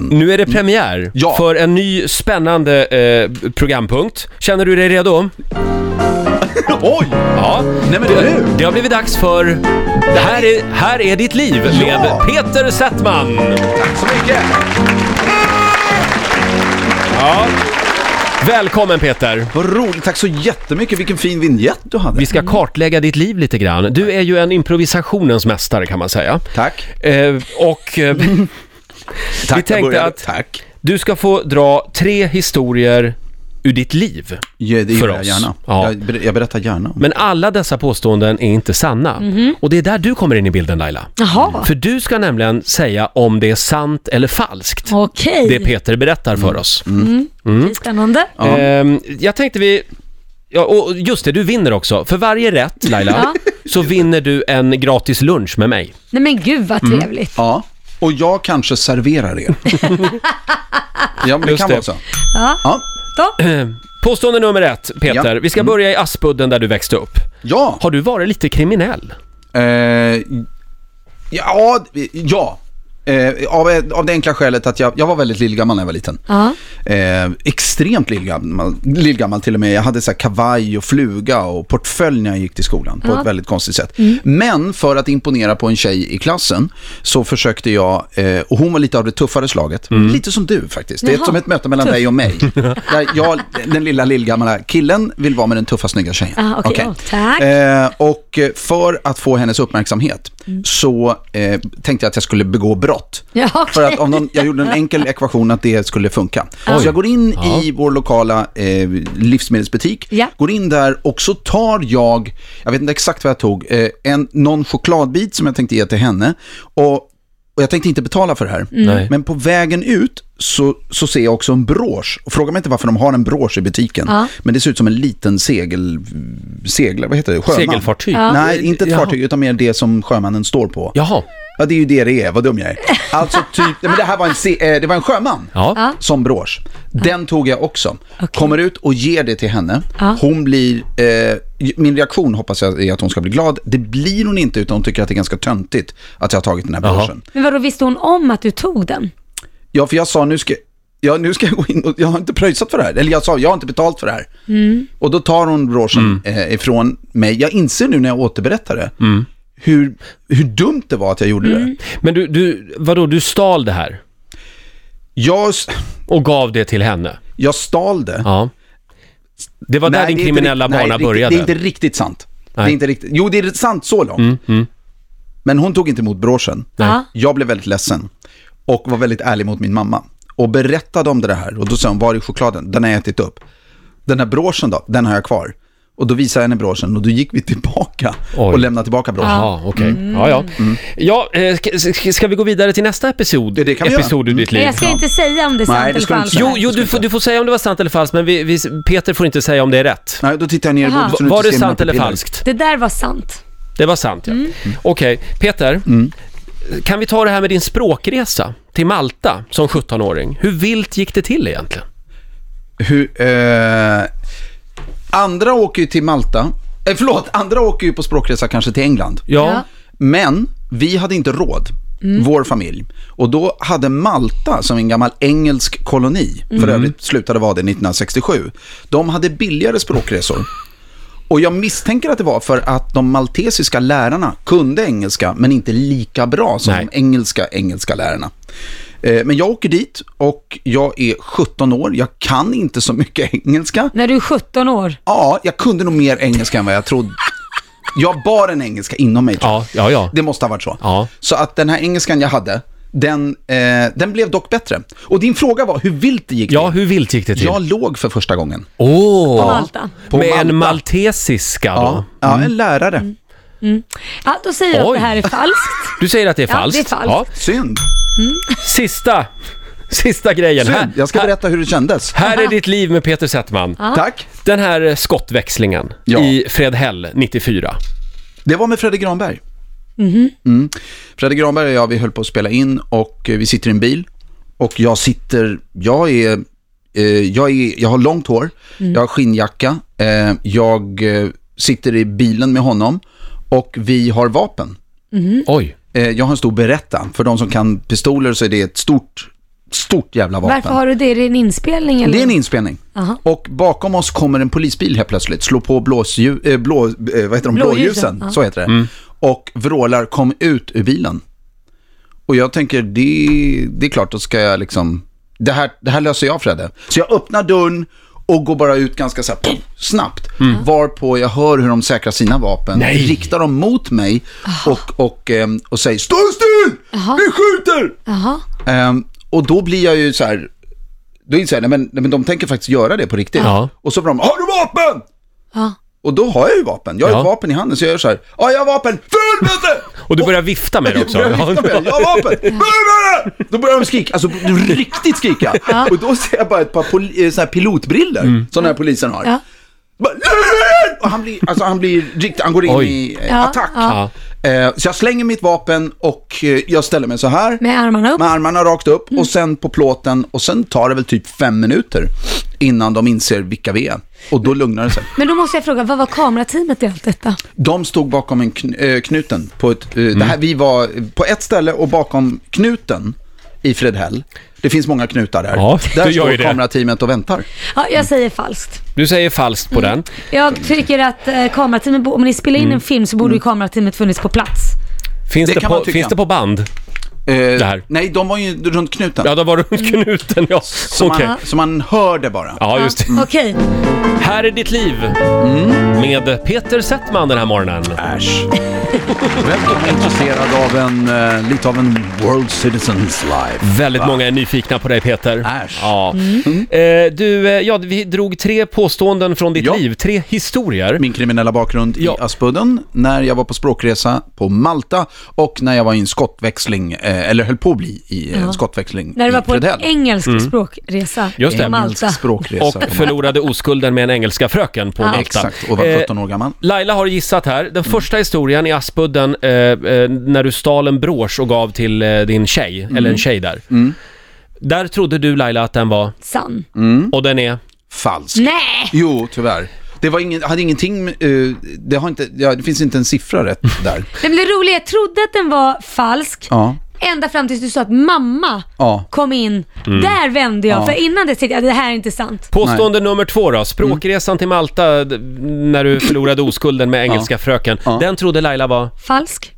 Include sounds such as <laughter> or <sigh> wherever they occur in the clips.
Nu är det premiär Ja. för en ny spännande eh, programpunkt. Känner du dig redo? Oj! Ja. Nej men Det, du! det har blivit dags för Det här är, här är ditt liv med Ja. Peter Settman. Tack så mycket! Välkommen Peter! Vad roligt, tack så jättemycket. Vilken fin vignett du hade. Vi ska kartlägga ditt liv lite grann. Du är ju en improvisationens mästare kan man säga. Tack. Eh, och eh, Tack, tänkte jag började- att- Tack. du ska få dra tre historier ur ditt liv. Ja, För det gör oss. jag gärna. Ja. Jag, ber- jag berättar gärna om Men alla dessa påståenden är inte sanna. Och det är där du kommer in i bilden Laila. Jaha, För du ska nämligen säga om det är sant eller falskt, okej. det Mm. Peter berättar för oss. Det är spännande. Mm. Ja. Ehm, jag tänkte vi... Ja, och just det, du vinner också. För varje rätt, Laila, så vinner du en gratis lunch med mig. Nej men gud vad Mm. trevligt. Ja, och jag kanske <laughs> serverar er. ja, men det Just kan det. vara så. Ja. Ja, Då. Eh. Påstående nummer ett, Peter. Ja. Mm. Vi ska börja i Aspudden där du växte upp. ja. Har du varit lite kriminell? Eh, ja, ja. Eh, av, av det enkla skälet att jag, jag var väldigt lillgammal när jag var liten. Ja. Eh, extremt lillgammal, lillgammal till och med. Jag hade så här kavaj och fluga och portfölj när jag gick till skolan på ett väldigt konstigt sätt. Mm. Men för att imponera på en tjej i klassen så försökte jag, eh, och hon var lite av det tuffare slaget, lite som du faktiskt. Det är Jaha. som ett möte mellan dig och <laughs> mig. Där jag, den lilla lillgamla killen vill vara med den tuffa snygga tjejen. Ah, okej. Okej. Ja, tack. Eh, och eh, för att få hennes uppmärksamhet så eh, tänkte jag att jag skulle begå brott. Mm. Ja, okej. För att om någon, jag gjorde en enkel ekvation att det skulle funka. Så jag går in i vår lokala eh, livsmedelsbutik, Ja. går in där och så tar jag, jag vet inte exakt vad jag tog, eh, en, någon chokladbit som jag tänkte ge till henne. Och, och jag tänkte inte betala för det här. Mm. Nej. Men på vägen ut så, så ser jag också en brosch. Och Fråga mig inte varför de har en brosch i butiken. Ja. Men det ser ut som en liten segel... segel vad heter det? Sjöman. Segelfartyg? Nej, inte ett Jaha. fartyg, utan mer det som sjömannen står på. Jaha. Ja, det är ju det det är. Vad dum jag är. Alltså typ, nej, men det här var en, se- eh, det var en sjöman Ja. som brosch. Den tog jag också. Kommer ut och ger det till henne. Ja. Hon blir, eh, min reaktion hoppas jag är att hon ska bli glad. Det blir hon inte utan hon tycker att det är ganska töntigt att jag har tagit den här Jaha. broschen. Men vadå, visste hon om att du tog den? Ja, för jag sa nu ska, ja, nu ska jag gå in och jag har inte pröjsat för det här. Eller jag sa, jag har inte betalt för det här. Och då tar hon broschen Mm. eh, ifrån mig. Jag inser nu när jag återberättar det, hur, hur dumt det var att jag gjorde det. Men du, du, vadå, du stal det här Jag, s- och gav det till henne? jag stal det. Ja. Det var där Nej, din det är inte kriminella rikt- nej, bana riktigt- började? Det är inte riktigt sant. Det Nej. Mm, är inte riktigt, jo, det är sant så långt. Men hon tog inte emot broschen. Ja. Jag blev väldigt ledsen och var väldigt ärlig mot min mamma. Och berättade om det här och då sa hon, var är chokladen? Den har jag ätit upp. Den här broschen då? Den har jag kvar. Och då visade jag henne broschen och då gick vi tillbaka Oj. och lämnade tillbaka broschen. Jaha, okej. Ja, ja. ja eh, ska, ska- ska vi gå vidare till nästa episod, Mm. Ja, det kan vi göra. episod ur ditt Men liv? jag ska inte säga om det är sant Nej, det eller ska du falskt. inte Jo, Nej, jo du, får, du får säga om det var sant eller falskt, men vi, vi, Peter får inte säga om det är rätt. Nej, då tittar jag ner i Jaha. bordet så du Var inte det ser mina sant eller pupiller. falskt? Det där var sant. Det var sant, ja. Mm. Okej, Peter. Kan vi ta det här med din språkresa till Malta som 17-åring? Hur vilt gick det till egentligen? Hur, eh, andra åker ju till Malta. Eh, förlåt, andra åker ju på språkresa kanske till England. Ja. Men vi hade inte råd, vår familj. Och då hade Malta, som en gammal engelsk koloni, för övrigt slutade vara det 1967, de hade billigare språkresor. Och jag misstänker att det var för att de maltesiska lärarna kunde engelska, men inte lika bra som Nej. de engelska engelska lärarna. Eh, Men jag åker dit och jag är 17 år, jag kan inte så mycket <laughs> engelska. När du är 17 år. Ja, jag kunde nog mer engelska än vad jag trodde. Jag bar en engelska inom mig. tror jag. Ja, ja, ja. Det måste ha varit så. Ja. Så att den här engelskan jag hade, den, eh, den blev dock bättre. Och din fråga var hur vilt det gick Ja, till. hur vilt gick det till? Jag låg för första gången. Åh! Malta. På Med en Malta. maltesiska då? Ja, ja Mm. en lärare. Ja, då säger jag Oj. att det här <laughs> är falskt. Du säger att det är Ja, det är falskt? falskt. Synd. Sista, sista grejen. Synd. Jag ska här, berätta hur det kändes. här är ditt liv med Peter Settman. Tack. Den här eh, skottväxlingen Ja. i Fredhäll 94. Det var med Fredrik Granberg. Mm. Fredrik Granberg och jag, vi höll på att spela in och eh, vi sitter i en bil. Och jag sitter, jag är, eh, jag, är jag har långt hår, jag har skinnjacka, eh, jag eh, sitter i bilen med honom och vi har vapen. Oj. Mm. Eh, jag har en stor beretta. För de som kan pistoler så är det ett stort Stort jävla vapen. Varför har du det? Är det en inspelning eller? Det är en inspelning. Aha. Och bakom oss kommer en polisbil helt plötsligt, slår på blåsljus, eh, blå, eh, vad heter de? Blåljusen, blåljusen, ja. så heter det. Och vrålar kom ut ur bilen. Och jag tänker, det, det är klart, då ska jag liksom, det här, det här löser jag Fredde. Så jag öppnar dörren och går bara ut ganska så här, pff, snabbt. Varpå jag hör hur de säkrar sina vapen, Nej. riktar dem mot mig Ah. och, och, ehm, och säger stå still, vi skjuter! Jaha. Ehm, och då blir jag ju så här, då inser jag, nej men, nej men de tänker faktiskt göra det på riktigt. Ja. Och så får de, har du vapen? Ja. Och då har jag ju vapen, jag har Ja. ett vapen i handen så jag gör så här, ja jag har vapen, för helvete! Och du börjar vifta med <laughs> det också. Jag börjar vifta med det. Jag <laughs> har vapen! Börja med det! Då börjar de skrika, alltså <laughs> riktigt skrika. Och då ser jag bara ett par pol- eh, såna här pilotbriller Mm. som den här polisen har. Ja. Bara, "Lön!" Och han blir, alltså han blir riktigt, han går in Oj. i eh, Ja, attack. ja. Eh, så jag slänger mitt vapen och eh, jag ställer mig så här. Med armarna upp? Med armarna rakt upp och sen på plåten och sen tar det väl typ fem minuter innan de inser vilka vi är. Och då lugnar det sig. Men då måste jag fråga, vad var kamerateamet i allt detta? De stod bakom en kn- eh, knuten. På ett, eh, det Mm. här, vi var på ett ställe och bakom knuten i Fredhäll. Det finns många knutar där. Ja, där du gör står ju det. kamerateamet och väntar. Ja, Mm. jag säger falskt. Du säger falskt på den. Jag tycker att eh, kamerateamet, bo- om ni spelar in Mm. en film så borde ju kamerateamet funnits på plats. Finns Det det, kan man på, tycka. finns det på band? Eh, här. Nej, de var ju runt knuten. Ja, då var du knuten, ja. Så, Okej. man, så man hörde bara. Ja, just det. Ja, Okej. Här är ditt liv Mm. med Peter Settman den här morgonen. Äsch. Väldigt intresserad av en, eh, lite av en world citizens life. Väldigt många är nyfikna på dig Peter. Äsch. Ja. Eh, du, eh, ja, vi drog tre påståenden från ditt Ja. liv, tre historier. min kriminella bakgrund Ja. i Aspudden, när jag var på språkresa på Malta och när jag var i en skottväxling, eh, eller höll på att bli i en Ja. skottväxling När du i var på en Fredhäll. engelsk språkresa Just det. på Malta. Mm. Engelsk språkresa. Och förlorade oskulden med en engelska fröken på Ja. Malta. Exakt, och var Eh, 17 år gammal. Laila har gissat här. Mm. Den första historien i Aspudden, eh, eh, när du stal en brosch och gav till eh, din tjej, eller Mm. en tjej där. Där trodde du Laila att den var, Sann. Mm. och den är... Falsk. Nej! Jo, tyvärr. Det var ingen, hade ingenting, med, eh, det, har inte, ja, det finns inte en siffra rätt där. Nej, men det roliga, jag trodde att den var falsk. Ja. Ända fram tills du sa att mamma Ja. Mm. kom in. Där vände jag. Ja. För innan det tänkte jag, det här är inte sant. Påstående nummer två då, språkresan till Malta d- när du förlorade oskulden med engelska fröken. Den trodde Laila var, Falsk.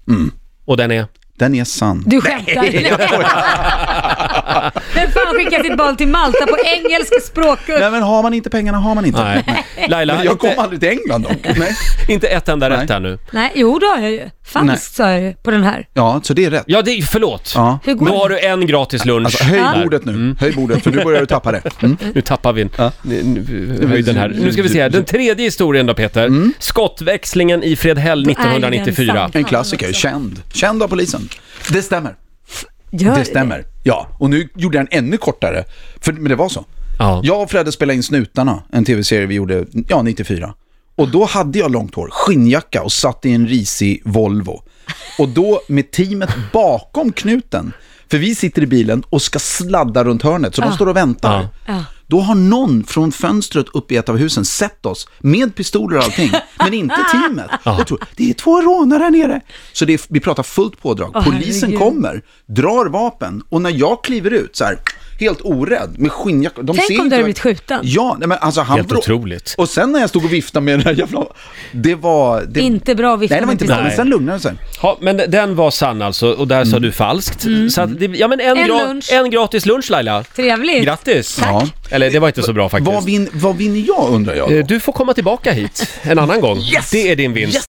och den är... Den är sann. Du skämtar. <laughs> <laughs> Vem fan skickar sitt barn till Malta på engelsk språkkurs? Nej men har man inte pengarna har man inte. Nej. <laughs> Laila, Men jag kom inte, aldrig till England dock. Nej. inte ett enda Nej. rätt här nu. Nej, jo det har jag ju. Nej. Falskt sa jag ju på den här. Ja, så det är rätt. Ja, det, förlåt. Ja. Hur går Nu det? har du en gratis lunch. Alltså, höj där. bordet nu, höj bordet för nu börjar du tappa det. Mm. Nu tappar vi Ja. nu- höjden här. Nu ska vi se här. Den tredje historien då Peter. Mm. Skottväxlingen i Fredhäll är den 1994. sant? En klassiker, känd. Känd av polisen. Det stämmer. Gör Det stämmer. Ja, och nu gjorde jag den ännu kortare. För, men det var så. Ja. Jag och Fredde spelade in Snutarna, en tv-serie vi gjorde, ja, 94. Och då hade jag långt hår, skinnjacka och satt i en risig Volvo. Och då med teamet bakom knuten, för vi sitter i bilen och ska sladda runt hörnet, så de står och väntar. Ja. Då har någon från fönstret uppe i ett av husen sett oss med pistoler och allting, men inte teamet. Jag tror, det är två rånare här nere. Så det är, vi pratar fullt pådrag. Polisen herregud. kommer, drar vapen och när jag kliver ut så här, helt orädd med skinnjacka. De Tänk ser om du inte- hade blivit skjuten. Ja, nej, men alltså han Helt vrå- otroligt. Och sen när jag stod och viftade med den här jävla... Det var... Det... Inte bra att vifta Nej, det var med inte bra, men pistolen. sen lugnade det sig. Ja, men den var sann alltså och där sa du falskt. Så att det, ja men en, En gra- lunch. en gratis lunch Laila. Trevligt. Grattis! Tack. Ja. Eller det var inte så bra faktiskt. Vad, vin, vad vinner jag undrar jag då? Eh, Du får komma tillbaka hit en annan gång. Yes! Det är din vinst.